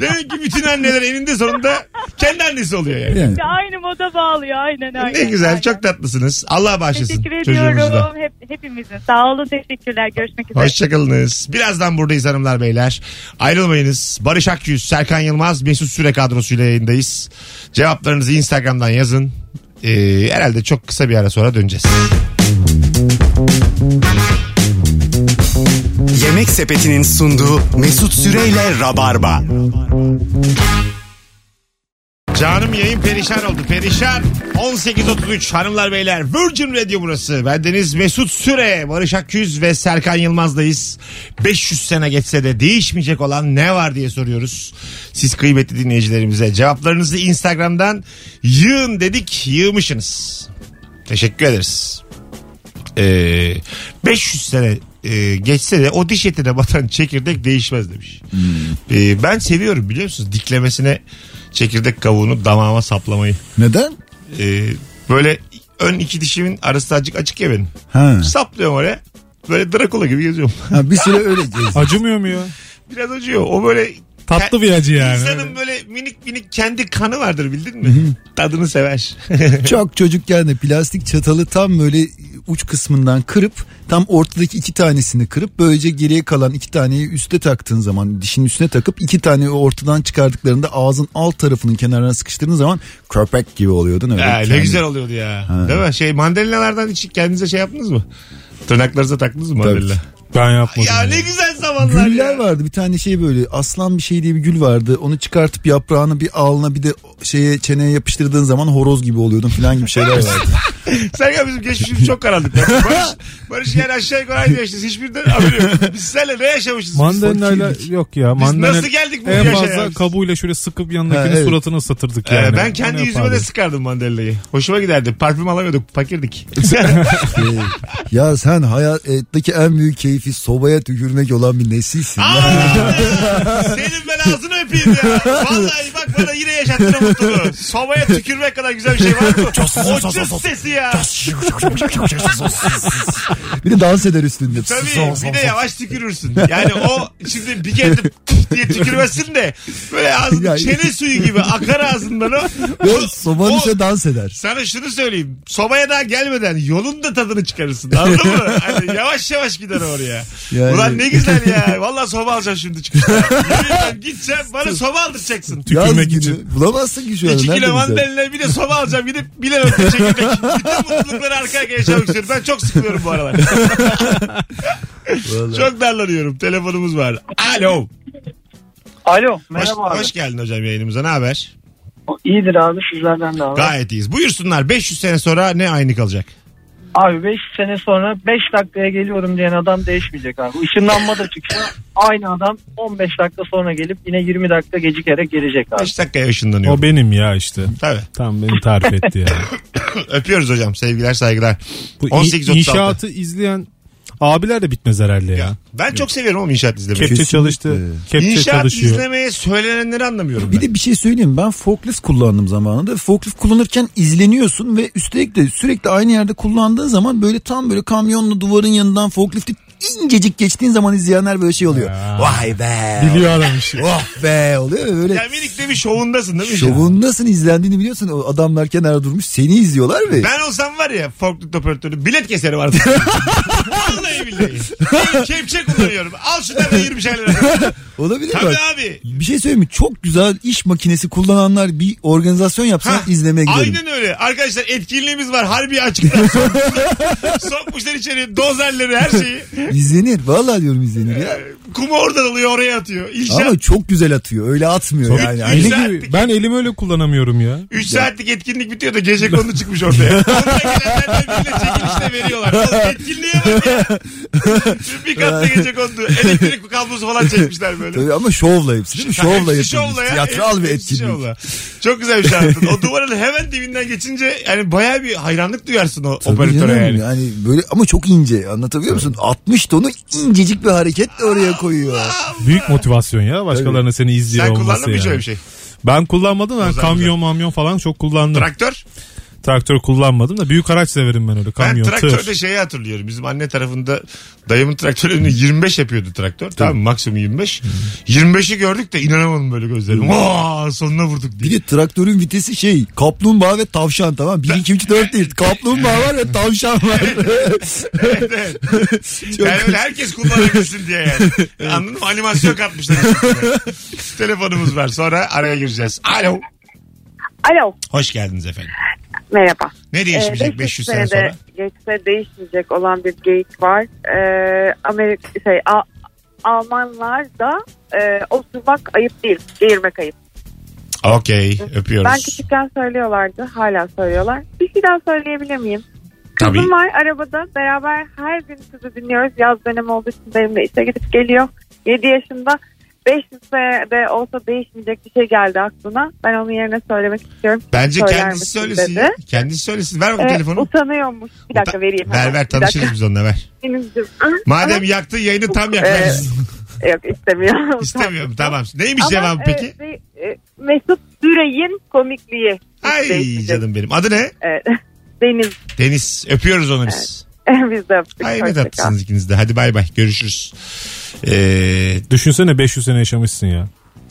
S2: Demek ki bütün anneler eninde sonunda kendi annesi oluyor yani.
S3: Yani.
S9: Ya aynı moda bağlıyor, aynen aynen.
S2: Ne güzel
S9: aynen.
S2: çok tatlısınız. Allah bağışlasın
S9: Teşekkür
S2: çocuğunuzu da.
S9: ediyorum hep, hepimizin. Sağ olun, teşekkürler. Görüşmek üzere.
S2: Hoşçakalınız. Birazdan buradayız hanımlar beyler. Ayrılmayınız. Barış Akyüz, Serkan Yılmaz, Mesut Süre kadrosuyla yayındayız. Cevaplarınızı Instagram'dan yazın. Ee, herhalde çok kısa bir ara sonra döneceğiz.
S1: Yemek Sepeti'nin sunduğu Mesut Süreyle Rabarba.
S2: Canım yayın perişan oldu. Perişan 18.33 hanımlar beyler. Virgin Radio burası. Bendeniz Mesut Süre, Barış Akyüz ve Serkan Yılmaz'dayız. 500 sene geçse de değişmeyecek olan ne var diye soruyoruz. Siz kıymetli dinleyicilerimize cevaplarınızı Instagram'dan yığın dedik. Yığmışsınız. Teşekkür ederiz. Ee, 500 sene e, geçse de o diş etine batan çekirdek değişmez demiş. Ee, ben seviyorum biliyor musunuz? Diklemesine çekirdek kavuğunu damağıma saplamayı.
S3: Neden?
S2: Ee, böyle ön iki dişimin arası azıcık açık ya benim.
S3: Ha.
S2: Saplıyorum oraya. Böyle Drakula gibi geziyorum.
S3: ha bir süre öyle gez.
S4: Acımıyor mu ya?
S2: Biraz acıyor. O böyle
S4: Tatlı bir acı yani.
S2: İnsanın böyle minik minik kendi kanı vardır bildin mi? Tadını sever.
S3: Çok çocukken de plastik çatalı tam böyle uç kısmından kırıp tam ortadaki iki tanesini kırıp böylece geriye kalan iki taneyi üste taktığın zaman dişin üstüne takıp iki tane ortadan çıkardıklarında ağzın alt tarafının kenarına sıkıştırdığın zaman köpek gibi oluyordun öyle.
S2: Ha, Ee, ne
S3: kendi-
S2: güzel oluyordu ya. Değil mi? Şey mandalinalardan hiç kendinize şey yaptınız mı? Tırnaklarınıza taktınız mı mandalina?
S4: Ben yapmadım.
S2: Ya ne güzel zamanlar
S3: Güller
S2: ya.
S3: vardı bir tane şey böyle aslan bir şey diye bir gül vardı onu çıkartıp yaprağını bir alına bir de şeye çeneye yapıştırdığın zaman horoz gibi oluyordun falan gibi şeyler vardı.
S2: Serkan bizim geçmişimiz çok karanlık. Barış, Barış yani aşağı yukarı aynı yaşlıyız. Hiçbirinden haberi yok. Biz seninle ne yaşamışız?
S4: Mandalinayla
S3: Fakirlik.
S4: yok ya.
S2: Biz
S4: Mandalina
S2: nasıl geldik bu
S4: en
S2: yaşa
S4: fazla
S2: ya?
S4: kabuğuyla şöyle sıkıp yanındakini
S3: Ha, evet.
S4: suratını ıslatırdık
S2: Ee,
S4: yani.
S2: ben kendi
S4: Onu
S2: yüzüme de
S4: yapardık.
S2: sıkardım mandalinayı. Hoşuma giderdi. Parfüm alamıyorduk. Fakirdik.
S3: Ee, ya sen hayattaki en büyük keyfi sobaya tükürmek olan bir nesilsin. ya.
S2: Aa! Senin ben ağzını öpeyim ya. Vallahi bak bana yine yaşattın o mutluluğu. Sobaya tükürmek kadar güzel bir şey var mı? O cız sesi ya.
S3: bir de dans eder üstünde.
S2: Tabii bir de yavaş tükürürsün. Yani o şimdi bir kere de püf diye tükürmesin de böyle ağzın
S3: Ya-
S2: çene suyu gibi akar ağzından o.
S3: Ve sobanın
S2: O-
S3: üstüne dans eder.
S2: Sana şunu söyleyeyim. Sobaya daha gelmeden yolun da tadını çıkarırsın. Anladın mı? Hani yavaş yavaş gider oraya.
S3: Yani-
S2: Ulan ne güzel ya. Vallahi soba alacağım şimdi çıkışta. Yemin ederim gideceğim bana soba aldıracaksın.
S3: Yaz
S4: Tükürmek
S3: günü
S4: için.
S3: Bulamazsın ki şu an.
S2: 2
S3: nerede
S2: kilo
S3: bize?
S2: mandalina bir de soba alacağım gidip bilen öpüp çekirdek. Bütün mutlulukları arka arkaya yaşamak istiyorum. Ben çok sıkılıyorum bu aralar.
S3: Vallahi.
S2: çok darlanıyorum. Telefonumuz var. Alo.
S8: Alo
S2: Hoş,
S8: merhaba abi.
S2: hoş geldin hocam yayınımıza. Ne haber?
S8: İyidir abi sizlerden de abi.
S2: Gayet iyiyiz. Buyursunlar 500 sene sonra ne aynı kalacak?
S8: Abi 5 sene sonra 5 dakikaya geliyorum diyen adam değişmeyecek abi. Işınlanma da çıkıyor. Aynı adam 15 dakika sonra gelip yine 20 dakika gecikerek gelecek abi.
S2: 5 dakikaya ışınlanıyor.
S4: O benim ya işte.
S2: Tabii.
S4: Tam beni tarif etti ya.
S2: Öpüyoruz hocam. Sevgiler saygılar.
S4: Bu
S2: 18.36.
S4: inşaatı izleyen abiler de bitmez herhalde ya.
S2: Ya. Ben çok seviyorum oğlum inşaat izlemeyi.
S4: Kepçe çalıştı. Kepçe
S2: İnşaat
S4: çalışıyor.
S2: izlemeye söylenenleri anlamıyorum
S3: Bir
S2: ben.
S3: de bir şey söyleyeyim ben forklift kullandım zamanında. Forklift kullanırken izleniyorsun ve üstelik de sürekli aynı yerde kullandığın zaman böyle tam böyle kamyonlu duvarın yanından forklifti incecik geçtiğin zaman izleyenler böyle şey oluyor. Vay be.
S4: Biliyor adam işi.
S3: Oh be oluyor ve böyle
S2: Ya minik de bir şey şovundasın değil mi?
S3: şovun nasıl izlendiğini biliyorsun. O adamlar kenara durmuş seni izliyorlar ve
S2: Ben olsam var ya forklift operatörü bilet keserim artık. Vallahi billahi. Ben kepçe kullanıyorum. Al şundan da 20 şeyler.
S3: olabilir
S2: Tabii
S3: bak.
S2: abi.
S3: Bir şey söyleyeyim mi? Çok güzel iş makinesi kullananlar bir organizasyon yapsa
S2: Ha,
S3: izlemeye gidelim.
S2: Aynen öyle. Arkadaşlar etkinliğimiz var. Harbi açıkta. Sokmuşlar içeri dozerleri her şeyi.
S3: İzlenir. Vallahi diyorum izlenir ya.
S2: Ee, Kumu oradan alıyor oraya atıyor. İnşaat.
S3: Ama çok güzel atıyor. Öyle atmıyor yani.
S2: Üç
S3: Aynı
S4: Eli
S2: saatlik-
S4: gibi. Ben elimi öyle kullanamıyorum ya.
S2: 3 saatlik etkinlik bitiyor da gece konu çıkmış ortaya. Oraya gelenler birbirine çekilişle veriyorlar. Oğlum etkinliğe bak ya. Bir katta gece kondu. Elektrik kablosu falan çekmişler böyle.
S3: Tabii ama şovla hepsi değil mi? Şovla
S2: Hepsi
S3: yapılmış.
S2: şovla ya.
S3: Tiyatral bir
S2: Hepsi
S3: etkinlik.
S2: şovla. Çok güzel bir şey anlattın. O duvarın hemen dibinden geçince yani baya bir hayranlık duyarsın o
S3: Tabii
S2: operatöre
S3: canım,
S2: yani.
S3: yani böyle ama çok ince anlatabiliyor musun? 60 tonu incecik bir hareketle oraya koyuyor.
S4: Büyük motivasyon ya. Başkalarına seni izliyor
S2: Sen
S4: olması
S2: kullandın mı hiç
S4: yani.
S2: öyle bir şey?
S4: Ben kullanmadım. Ben
S2: Güzel,
S4: kamyon mamyon falan çok kullandım.
S2: Traktör?
S4: Traktör kullanmadım da büyük araç severim ben öyle. Kamyon,
S2: ben traktörde
S4: tır.
S2: şeyi hatırlıyorum. Bizim anne tarafında dayımın traktörünü 25 yapıyordu traktör. Tamam mı? maksimum 25. 25'i gördük de inanamadım böyle gözlerim. Vaa sonuna vurduk diye.
S3: Bir de traktörün vitesi şey kaplumbağa ve tavşan tamam 1 2 3 4 değil kaplumbağa var ve tavşan var.
S2: Evet, evet. yani öyle herkes kullanabilsin diye yani. Anladın mı? Animasyon katmışlar. Telefonumuz var. Sonra araya gireceğiz. Alo.
S10: Alo Ee,
S2: Hoş geldiniz efendim.
S10: merhaba.
S2: Ne değişmeyecek 500 sene sonra?
S10: Geçse değişmeyecek olan bir geyik var. Ee, Amerika şey A- Almanlar da e, osurmak ayıp değil, geğirmek ayıp.
S2: Okey öpüyoruz.
S10: Ben küçükken söylüyorlardı, hala söylüyorlar. Bir şey daha söyleyebilir miyim? Kızım
S2: Tabii.
S10: var arabada, beraber her gün sizi dinliyoruz. Yaz dönemi olduğu için benimle işe gidip geliyor. 7 yaşında 500 sene de olsa değişmeyecek bir şey geldi aklına. Ben onun yerine söylemek istiyorum.
S2: Bence
S10: Söyler
S2: kendisi
S10: misin
S2: söylesin.
S10: dedi.
S2: ya. Kendisi söylesin. Ver bakalım
S10: Ee,
S2: telefonu.
S10: utanıyormuş. Bir dakika vereyim.
S2: Ver
S10: hemen.
S2: ver
S10: Bir dakika.
S2: tanışırız biz onunla ver.
S10: Denizciğim. Ah,
S2: Madem yaktın yayını tam yak.
S10: Ee,
S2: ver.
S10: ah, Yok istemiyorum.
S2: İstemiyorum tamam. Neymiş
S10: Ama,
S2: cevabı
S10: e,
S2: peki?
S10: e, e, Mesut Süreyin komikliği.
S2: Ay
S10: Değişecek.
S2: canım benim. Adı ne?
S10: E, Deniz.
S2: Deniz. Öpüyoruz onu biz.
S10: Biz de yaptık.
S2: Ay ne
S10: Hoşça kal.
S2: tatlısınız ikiniz de. Hadi bay bay. Görüşürüz. Ee,
S4: Düşünsene 500 sene yaşamışsın ya.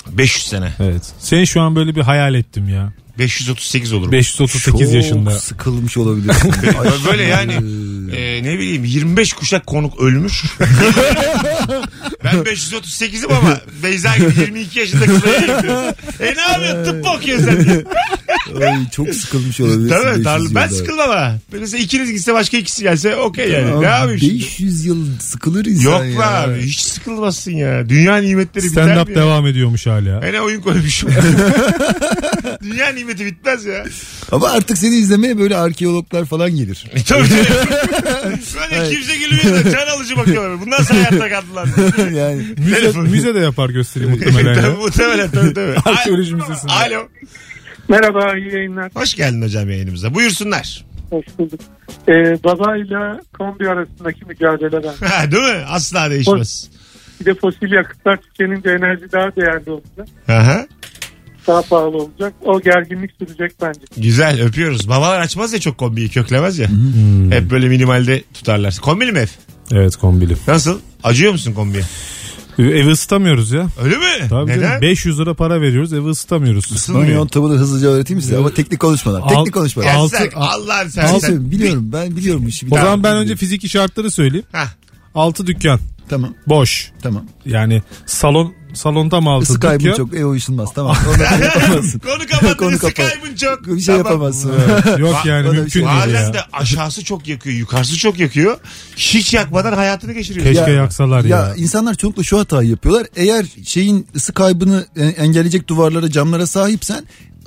S2: 500 sene.
S4: Evet. Seni şu an böyle bir hayal ettim ya.
S2: 538 olur. bu.
S4: 538
S3: Çok
S4: yaşında.
S3: sıkılmış olabilir.
S2: Böyle- Böyle yani e, ne bileyim 25 kuşak konuk ölmüş. ben 538'im ama Beyza gibi 22 yaşında kızlara yapıyor. E ne yapıyorsun tıp mı okuyorsun sen? diye.
S3: Ay, çok sıkılmış olabilir.
S2: Tabii darlı- Ben sıkılmam ha. Mesela ikiniz gitse başka ikisi gelse okey yani. Ne yapayım şimdi?
S3: 500 yıl sıkılır insan
S2: Yok
S3: ya.
S2: be abi hiç sıkılmazsın ya. Dünya nimetleri
S4: Stand
S2: biter
S4: up
S2: mi ya?
S4: devam ediyormuş hala.
S2: Hele oyun koymuşum. Dünya nimeti bitmez ya.
S3: Ama artık seni izlemeye böyle arkeologlar falan gelir.
S2: E, tabii canım. Böyle kimse gülmüyor da can alıcı bakıyorlar. Bunlar nasıl hayatta kaldılar?
S3: yani
S4: Müze,
S2: Telefon.
S4: müze de yapar gösteriyi muhtemelen.
S2: tabii,
S4: ya.
S2: muhtemelen tabii tabii.
S4: Arkeoloji müzesinde.
S2: Alo.
S6: Merhaba iyi yayınlar.
S2: Hoş geldin hocam yayınımıza. Buyursunlar.
S6: Hoş bulduk. Ee, babayla kombi arasındaki mücadele ben.
S2: Ha, Değil mi? Asla değişmez.
S6: Bir de fosil yakıtlar tükenince enerji daha değerli olacak.
S2: Aha.
S6: Daha pahalı olacak. O gerginlik sürecek bence.
S2: Güzel öpüyoruz. Babalar açmaz ya çok kombiyi köklemez ya.
S4: Hmm.
S2: Hep böyle minimalde tutarlar. Kombili mi ev?
S4: Evet kombili.
S2: Nasıl? Acıyor musun kombiye?
S4: Ee, Evi ısıtamıyoruz ya.
S2: Öyle mi?
S4: Tabii
S2: Neden?
S4: canım, 500 lira para veriyoruz evi ısıtamıyoruz.
S3: Bunun yöntemi de hızlıca öğreteyim size ama teknik konuşmadan.
S4: Al-
S3: Teknik konuşmadan.
S2: Ya
S4: Altı-
S2: sen, Allah'ım sen.
S3: Al-
S2: sen-
S3: biliyorum ben biliyorum bu işi.
S4: O zaman ben önce fiziki şartları söyleyeyim.
S2: Hah.
S4: 6 dükkan
S3: Tamam
S4: boş.
S3: tamam.
S4: Yani salon salonda mı 6
S3: Isı kaybı
S4: dükkan?
S3: çok E ev uyuşulmaz tamam. Ondan şey yapamazsın.
S2: Konu kapandı.
S3: Konu
S2: Konu
S3: kapan-
S2: kaybın çok.
S3: Bir şey
S2: Tamam.
S3: yapamazsın.
S4: Yok
S2: Ba-
S4: yani
S3: bana bir
S4: mümkün
S3: şey-
S4: değil
S2: Bazen
S4: ya.
S2: de aşağısı çok yakıyor, yukarısı çok yakıyor. Hiç yakmadan hayatını geçiriyor.
S4: Keşke yaksalar ya.
S3: Ya insanlar çoğunlukla şu hatayı yapıyorlar. Eğer şeyin ısı kaybını e, engelleyecek duvarlara, camlara sahipsen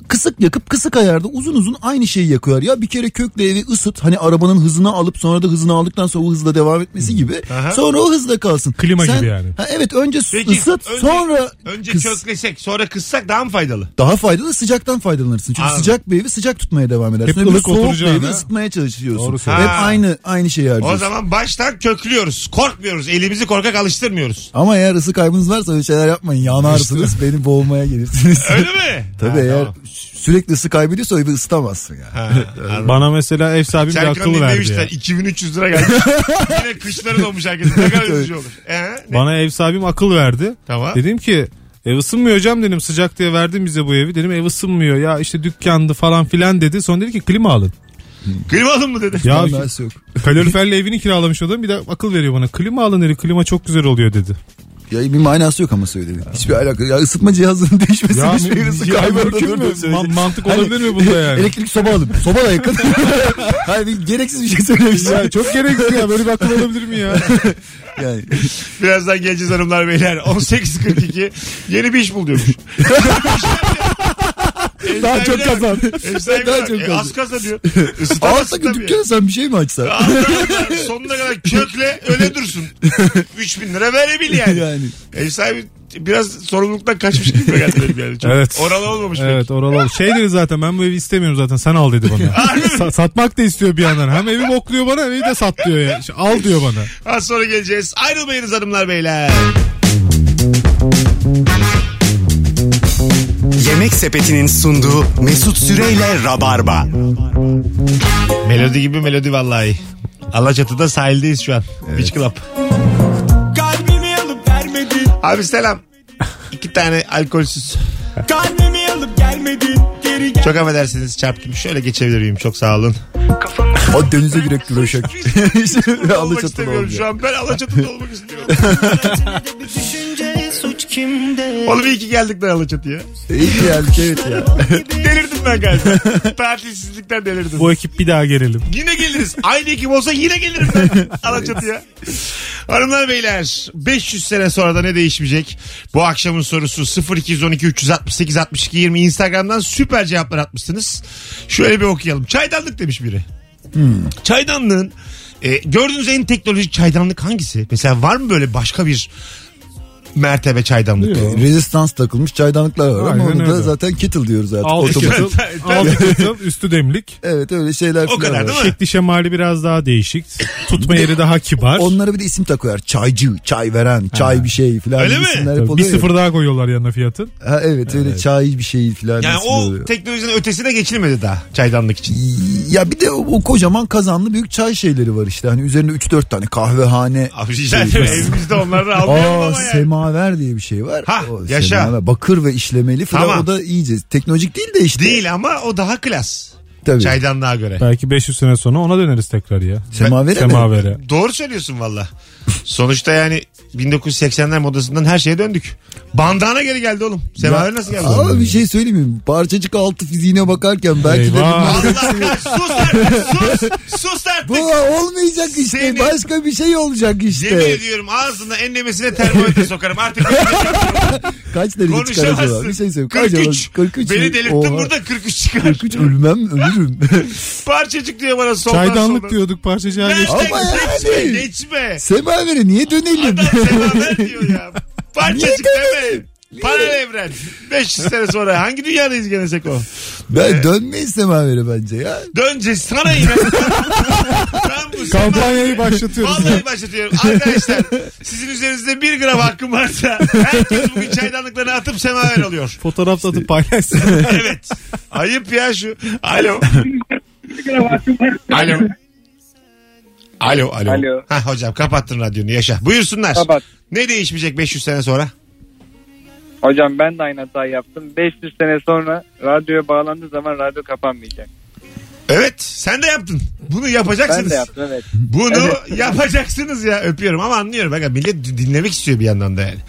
S3: kısık yakıp kısık ayarda uzun uzun aynı şeyi yakıyorlar. Ya bir kere kökle evi ısıt. Hani arabanın hızını alıp sonra da hızını aldıktan sonra o hızla devam etmesi gibi.
S2: Aha.
S3: Sonra o hızla kalsın.
S4: Klima gibi yani.
S3: Ha, evet önce s-
S2: Peki,
S3: ısıt
S2: önce-
S3: sonra
S2: Önce
S3: kıs-
S2: köklesek sonra kıssak daha mı faydalı?
S3: Daha faydalı sıcaktan faydalanırsın. Çünkü
S2: Anladım.
S3: sıcak bir evi sıcak tutmaya devam edersin.
S4: Hep
S3: Öbür
S4: ılık
S3: soğuk bir
S4: oturacağına.
S3: evi ısıtmaya çalışıyorsun.
S4: Doğru
S3: Hep
S2: söylüyorsun. Ha.
S3: aynı aynı şeyi harcıyorsun.
S2: O zaman baştan köklüyoruz. Korkmuyoruz. Elimizi korkak alıştırmıyoruz.
S3: Ama eğer ısı kaybınız varsa öyle şeyler yapmayın. Yanarsınız beni boğmaya gelirsiniz.
S2: Öyle mi?
S3: Tabii
S2: Ha,
S3: eğer
S2: tamam.
S3: sürekli ısı kaybediyorsa öyle ısıtamazsın yani.
S2: Ha, anladım.
S4: Bana mesela ev sahibi bir
S2: Serkan
S4: akıl verdi
S2: dinlemişler.
S4: ya.
S2: 2300 lira gelmiş. Yine kışları donmuş herkes. Ne kadar üzücü olur. Ee, ne?
S4: Bana ev sahibim akıl verdi.
S2: Tamam.
S4: Dedim ki ev ısınmıyor hocam dedim sıcak diye verdin bize bu evi. Dedim ev ısınmıyor ya işte dükkandı falan filan dedi. Sonra dedi ki klima alın.
S2: Klima alın mı dedi.
S4: Ya
S3: Ondan sonra yok.
S4: kaloriferle evini kiralamış adam bir de akıl veriyor bana. Klima alın dedi klima çok güzel oluyor dedi.
S3: Ya bir manası yok ama söylediğin. Hiçbir alakası. Ya ısıtma cihazının değişmesi
S4: Ya
S3: hiçbir
S4: mü-
S3: ısı
S4: ya
S3: kaybına
S4: mümkün
S3: doğru
S4: mü?
S3: dönüyor.
S4: Ma- mantık
S2: Hani
S4: olabilir mi bunda yani?
S3: Elektrik Hani e, soba alın. Soba da yakın. Hayır bir gereksiz bir şey
S4: Ya
S3: söylemişsin.
S4: çok gereksiz ya böyle bir akıl olabilir mi ya?
S3: Yani.
S2: Birazdan geleceğiz hanımlar beyler. 18.42 yeni bir iş bul diyormuş.
S3: Daha çok kazan. Daha çok
S2: kazan.
S3: kazan.
S2: Az kazan diyor.
S3: Alsa
S2: Isıtamazsın
S3: ki
S2: E, tabii.
S3: dükkana sen bir şey mi açsan?
S2: Ağzına kadar, sonuna kadar kökle öyle dursun. 3000 lira verebil yani.
S3: yani.
S2: Ev sahibi biraz sorumluluktan kaçmış gibi geldi benim yani. Çok
S4: Evet.
S2: Oralı olmamış.
S4: Evet oralı ol. Şey dedi zaten ben bu evi istemiyorum zaten sen al dedi bana. Sa- satmak da istiyor bir yandan. Hem evi bokluyor bana hem evi de sat diyor ya. İşte Al diyor bana.
S2: pek. Az sonra geleceğiz. Ayrılmayınız hanımlar beyler.
S1: Yemek Sepeti'nin sunduğu Mesut Süreyle Rabarba.
S2: Melodi gibi melodi vallahi. Alaçatı'da sahildeyiz şu an. Beach Club.
S11: Kalbimi alıp vermedin
S2: Abi selam. İki tane alkolsüz.
S11: Kalbimi alıp gelmedin Geri gel
S2: Çok affedersiniz çarptım. Şöyle geçebilir miyim? Çok sağ olun.
S3: O denize girek güreşek.
S2: olmak
S3: Alaçatı'da
S2: istemiyorum
S3: olmuyor.
S2: şu an. Ben Alaçatı'da olmak istiyorum.
S11: bir düşünce suç kimde
S2: Oğlum iyi ki geldik lan Alaçatı'ya.
S3: İyi E, ki geldik evet ya.
S2: Delirdim ben galiba. Tatilsizlikten delirdim.
S4: Bu ekip bir daha gelelim.
S2: Yine geliriz. Aynı ekip olsa yine gelirim ben Alaçatı'ya. Hanımlar beyler 500 sene sonra da ne değişmeyecek? Bu akşamın sorusu 0212 368 62 20 Instagram'dan süper cevaplar atmışsınız. Şöyle bir okuyalım. Çaydanlık demiş biri. Çaydanlığın e, gördüğünüz en teknolojik çaydanlık hangisi? Mesela var mı böyle başka bir mertebe çaydanlık?
S4: Yok.
S3: Rezistans takılmış çaydanlıklar var ama
S4: Aynen
S3: onu da
S4: öyle.
S3: zaten kettle diyoruz artık.
S4: Altı
S3: Otomatik.
S4: kıtıl, altı kıtıl, üstü demlik.
S3: Evet öyle şeyler
S2: O
S3: filan
S2: kadar
S3: var.
S2: değil mi?
S4: Şekli şemali biraz daha değişik. Tutma yeri daha kibar.
S3: Onlara bir de isim takıyorlar. Çaycı, çay veren, çay bir şey filan.
S2: Öyle mi?
S3: isimler hep
S4: Tabii, bir
S3: oluyor ya.
S4: sıfır daha koyuyorlar yanına fiyatın.
S3: Ha, evet öyle çay bir şey filan.
S2: Yani
S3: isim
S2: o
S3: oluyor.
S2: teknolojinin ötesine geçilmedi daha çaydanlık için.
S3: ya bir de o, o kocaman kazanlı büyük çay şeyleri var işte. Hani üzerinde 3-4 tane kahvehane.
S2: Abi rica ederim, evimizde onları da almayalım
S3: Aa
S2: ama yani.
S3: Semaver diye bir şey var.
S2: Ha,
S3: O
S2: yaşa.
S3: semaver, bakır ve işlemeli falan
S2: Tamam.
S3: o da iyice teknolojik değil de işte.
S2: Değil ama o daha klas.
S3: Tabii.
S2: Çaydanlığa göre.
S4: Belki 500 sene sonra ona döneriz tekrar ya.
S3: Semavere mi?
S4: Semavere.
S2: Doğru söylüyorsun valla. Sonuçta yani 1980'ler modasından her şeye döndük. Bandana geri geldi oğlum. Semaver
S3: Ya-
S2: nasıl geldi?
S3: Ama bir şey söyleyeyim mi? Parçacık altı fiziğine bakarken belki
S4: Eyvah.
S3: de bunlar-
S2: Allah kahretsin, sus artık sus. Sus artık.
S3: bu olmayacak işte.
S2: Seni-
S3: Başka bir şey olacak
S2: Yemin
S3: işte.
S2: ediyorum ağzına enlemesine termometre sokarım. Artık
S3: Kaç derece çıkar acaba?
S2: konuşamazsın.
S3: Bir şey söyleyeyim. Kaç
S2: 43.
S3: acaba? 43 mi?
S2: Beni delirttin
S3: Oha.
S2: burada 43 çıkar.
S3: 43 ölmem ölürüm.
S2: Parçacık diyor bana soldan
S4: Çaydanlık
S2: soldan.
S4: diyorduk parçacığa
S2: Geçme,
S4: geçtik.
S3: Ama
S2: geçme,
S3: yani.
S2: geçme.
S3: Semavere niye dönelim?
S2: Adam semaver diyor ya. Parçacık
S3: Niye
S2: deme. Paralel evren. 500 sene sonra hangi dünyadayız gene Seko?
S3: ben dönmeyiz semavere bence ya.
S2: Dönce sana inan. ben bu
S4: Kampanyayı başlatıyoruz.
S2: Vallahi başlatıyorum. Arkadaşlar sizin üzerinizde bir gram hakkım varsa herkes bugün çaydanlıklarını atıp semaver alıyor.
S4: Fotoğraf da atıp paylaşsın.
S2: Evet. Ayıp ya şu. Alo. Alo. Alo, alo.
S7: Alo.
S2: Ha hocam kapattın radyonu yaşa. Buyursunlar.
S7: Kapat.
S2: Ne değişmeyecek 500 sene sonra?
S7: Hocam ben de aynı hatayı yaptım. 500 sene sonra radyoya bağlandığı zaman radyo kapanmayacak.
S2: Evet sen de yaptın. Bunu yapacaksınız.
S7: Ben de yaptım evet.
S2: Bunu yapacaksınız ya öpüyorum ama anlıyorum. Aga, millet dinlemek istiyor bir yandan da yani.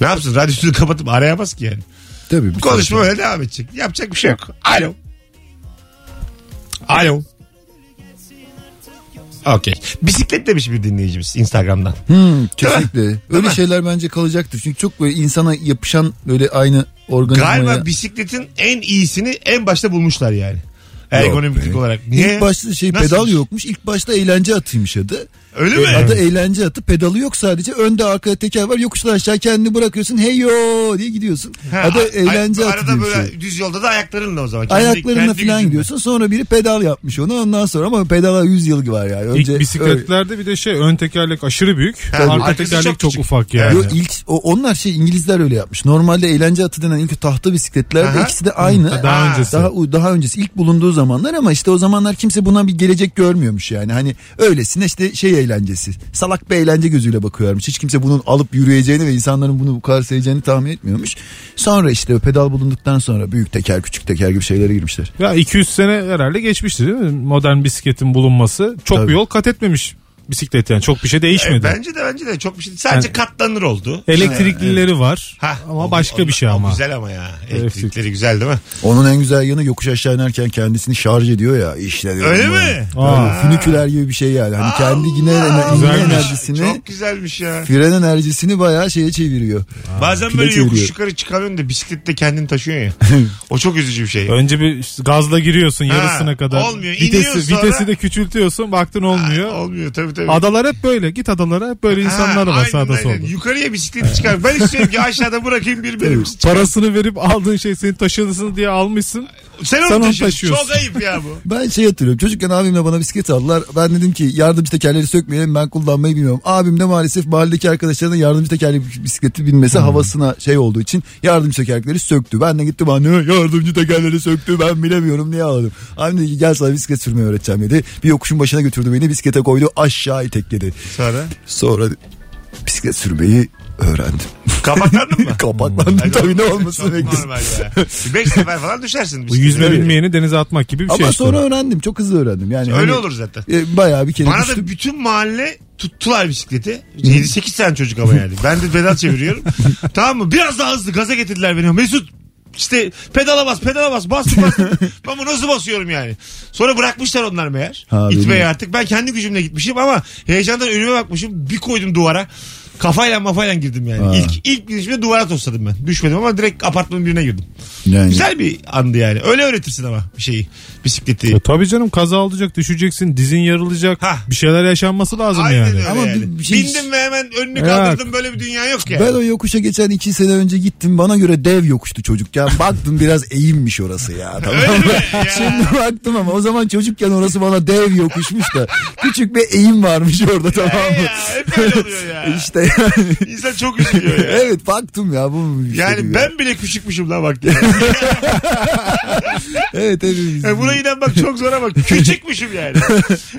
S2: Ne yapsın radyosunu kapatıp arayamaz ki yani.
S3: Tabii.
S2: Bu konuşma öyle devam edecek. Yapacak bir şey yok. Alo. Alo. Okey. Bisiklet demiş bir dinleyicimiz Instagram'dan.
S3: Hmm, kesinlikle. Öyle şeyler bence kalacaktır. Çünkü çok böyle insana yapışan böyle aynı organizmaya.
S2: Galiba bisikletin en iyisini en başta bulmuşlar yani.
S3: Yok
S2: Ergonomik
S3: be.
S2: olarak.
S3: İlk başta şey
S2: Nasıl? şey?
S3: pedal e- yokmuş. İlk başta eğlence atıymış adı.
S2: Öyle mi?
S3: Adı eğlence atı. Pedalı yok sadece. Önde arkada teker var. Yokuştan aşağı kendini bırakıyorsun. Hey yo diye gidiyorsun.
S2: Ha,
S3: adı
S2: ay-
S3: eğlence atı.
S2: Arada
S3: diye bir
S2: böyle
S3: şey.
S2: düz yolda da ayaklarınla o zaman. Kendi-
S3: Ayaklarınla
S2: kendi
S3: falan
S2: gücünle.
S3: gidiyorsun. Sonra biri pedal yapmış onu. Ondan sonra ama pedala 100 yıl var yani.
S4: İlk
S3: Önce öyle-
S4: bisikletlerde bir de şey ön tekerlek aşırı büyük.
S2: Tabii.
S4: Arka
S2: Arkası
S4: tekerlek
S2: çok
S4: çok,
S2: küçük.
S4: ufak yani.
S3: Yo, ilk o, onlar şey İngilizler öyle yapmış. Normalde eğlence atı denen ilk tahta bisikletler
S2: Aha.
S3: de ikisi de aynı.
S4: Ha, daha öncesi.
S3: Daha u- daha öncesi ilk bulunduğu zamanlar ama işte o zamanlar kimse buna bir gelecek görmüyormuş yani. Hani öylesine işte şey eğlencesi. Salak bir eğlence gözüyle bakıyorlarmış. Hiç kimse bunun alıp yürüyeceğini ve insanların bunu bu kadar seveceğini tahmin etmiyormuş. Sonra işte pedal bulunduktan sonra büyük teker küçük teker gibi şeylere girmişler.
S4: Ya 200 sene herhalde geçmişti değil mi? Modern bisikletin bulunması. Çok
S3: Tabii.
S4: bir yol kat etmemiş bisiklet yani. Çok bir şey değişmedi.
S2: E, bence de bence de çok bir şey. Sadece
S4: Yani-
S2: katlanır oldu.
S4: Elektriklileri var.
S2: Ha,
S4: ama
S2: o-
S4: başka
S2: o-
S4: bir şey
S2: o
S4: ama.
S2: Güzel ama ya.
S4: Evet.
S2: Elektrikleri güzel değil mi?
S3: Onun en güzel yanı yokuş aşağı inerken kendisini şarj ediyor ya işte. diyorum
S2: Öyle
S3: böyle.
S2: mi?
S3: Böyle
S4: Aa.
S3: füniküler gibi bir şey yani. Hani kendi yine
S2: Allah!
S3: yine
S4: Güzelmiş.
S3: enerjisini
S2: Çok güzelmiş ya.
S3: fren enerjisini bayağı şeye çeviriyor.
S2: Bazen
S3: pile
S2: böyle yokuş
S3: çeviriyor.
S2: yukarı çıkamıyorsun da bisiklette kendini taşıyorsun ya. o çok üzücü bir şey.
S4: Önce bir işte gazla giriyorsun
S2: Ha,
S4: yarısına kadar.
S2: olmuyor. İniyorsun
S4: Vitesi,
S2: sonra-
S4: vitesi de küçültüyorsun baktın olmuyor.
S2: Ha, olmuyor tabii tabii.
S4: Adalar hep böyle. Git adalara hep böyle insanlar
S2: Ha,
S4: var
S2: aynen,
S4: sağda
S2: aynen.
S4: solda.
S2: Yukarıya bisikleti çıkar. Ben istiyorum ki aşağıda bırakayım bir benim.
S4: Parasını verip aldığın şey senin taşıdısın diye almışsın.
S2: Sen
S4: Sen
S2: onu
S4: onu
S2: taşıyorsun.
S4: taşıyorsun.
S2: Çok ayıp ya bu.
S3: Ben şey hatırlıyorum. Çocukken abimle bana bisiklet aldılar. Ben dedim ki yardımcı tekerleri sökmeyelim ben kullanmayı bilmiyorum. Abim de maalesef mahalledeki arkadaşlarına yardımcı tekerlekli bisikleti binmesi havasına şey olduğu için yardımcı tekerlekleri söktü. Ben de gittim anne yardımcı tekerleri söktü ben bilemiyorum diye ağladım. Abim dedi ki gel sana bisiklet sürmeyi öğreteceğim dedi. Bir yokuşun başına götürdü beni bisiklete koydu aşağı itekledi.
S2: Sonra
S3: Sonra bisiklet sürmeyi öğrendim.
S2: kapaklandın mı?
S3: Kapaklandım tabii ne olmasını
S2: Çok
S3: bekledim.
S2: normal ya. Bir Beş sefer falan düşersin.
S4: Bu
S2: bisiklete.
S4: yüzme bilmeyeni denize atmak gibi bir şey.
S3: Ama
S4: işte.
S3: sonra öğrendim çok hızlı öğrendim. Yani
S2: Öyle
S3: hani,
S2: olur zaten.
S3: e, Bayağı bir kere
S2: Bana
S3: düştüm.
S2: da bütün mahalle tuttular bisikleti. 7-8 tane çocuk ama yani. Ben de pedal çeviriyorum. tamam mı? Biraz daha hızlı gaza getirdiler beni. Mesut işte pedala bas pedala bas bastım bastım. ben bunu nasıl basıyorum yani. Sonra bırakmışlar onlar meğer.
S3: Ha,
S2: İtmeyi
S3: benim-
S2: artık. Ben kendi gücümle gitmişim ama heyecandan önüme bakmışım. Bir koydum duvara. Kafayla mafayla girdim yani.
S3: Ha.
S2: İlk, ilk girişimde duvara tosladım ben. Düşmedim ama direkt apartmanın birine girdim.
S3: Yani.
S2: Güzel bir andı yani. Öyle öğretirsin ama bir şeyi. Bisikleti.
S4: E tabii canım kaza olacak düşeceksin dizin yarılacak
S2: Ha.
S4: bir şeyler yaşanması lazım
S2: Aynen
S4: yani.
S2: öyle
S3: Ama
S2: yani.
S3: bir şey-
S2: Bindim ve hemen önünü
S4: Yok.
S2: kaldırdım böyle bir dünya yok yani.
S3: Ben o yokuşa geçen iki sene önce gittim. Bana göre dev yokuştu çocukken. Baktım biraz eğimmiş orası ya. Tamam
S2: Öyle
S3: mı?
S2: mi? Ya.
S3: Şimdi baktım ama o zaman çocukken orası bana dev yokuşmuş da. Küçük bir eğim varmış orada tamam mı?
S2: ya, hep öyle oluyor ya.
S3: işte öyle yani.
S2: İnsan çok üzülüyor ya.
S3: evet baktım ya bu şey
S2: Yani ben bile küçükmüşüm lan bak. diye.
S3: Evet hepimiz.
S2: E buna inen bak çok zora bak. Küçükmüşüm yani.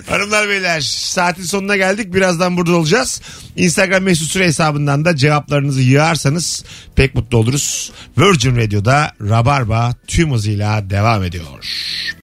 S2: Hanımlar beyler saatin sonuna geldik. Birazdan burada olacağız. Instagram mesut süre hesabından da cevaplarınızı yığarsanız pek mutlu oluruz. Virgin Radio'da Rabarba tüm hızıyla devam ediyor.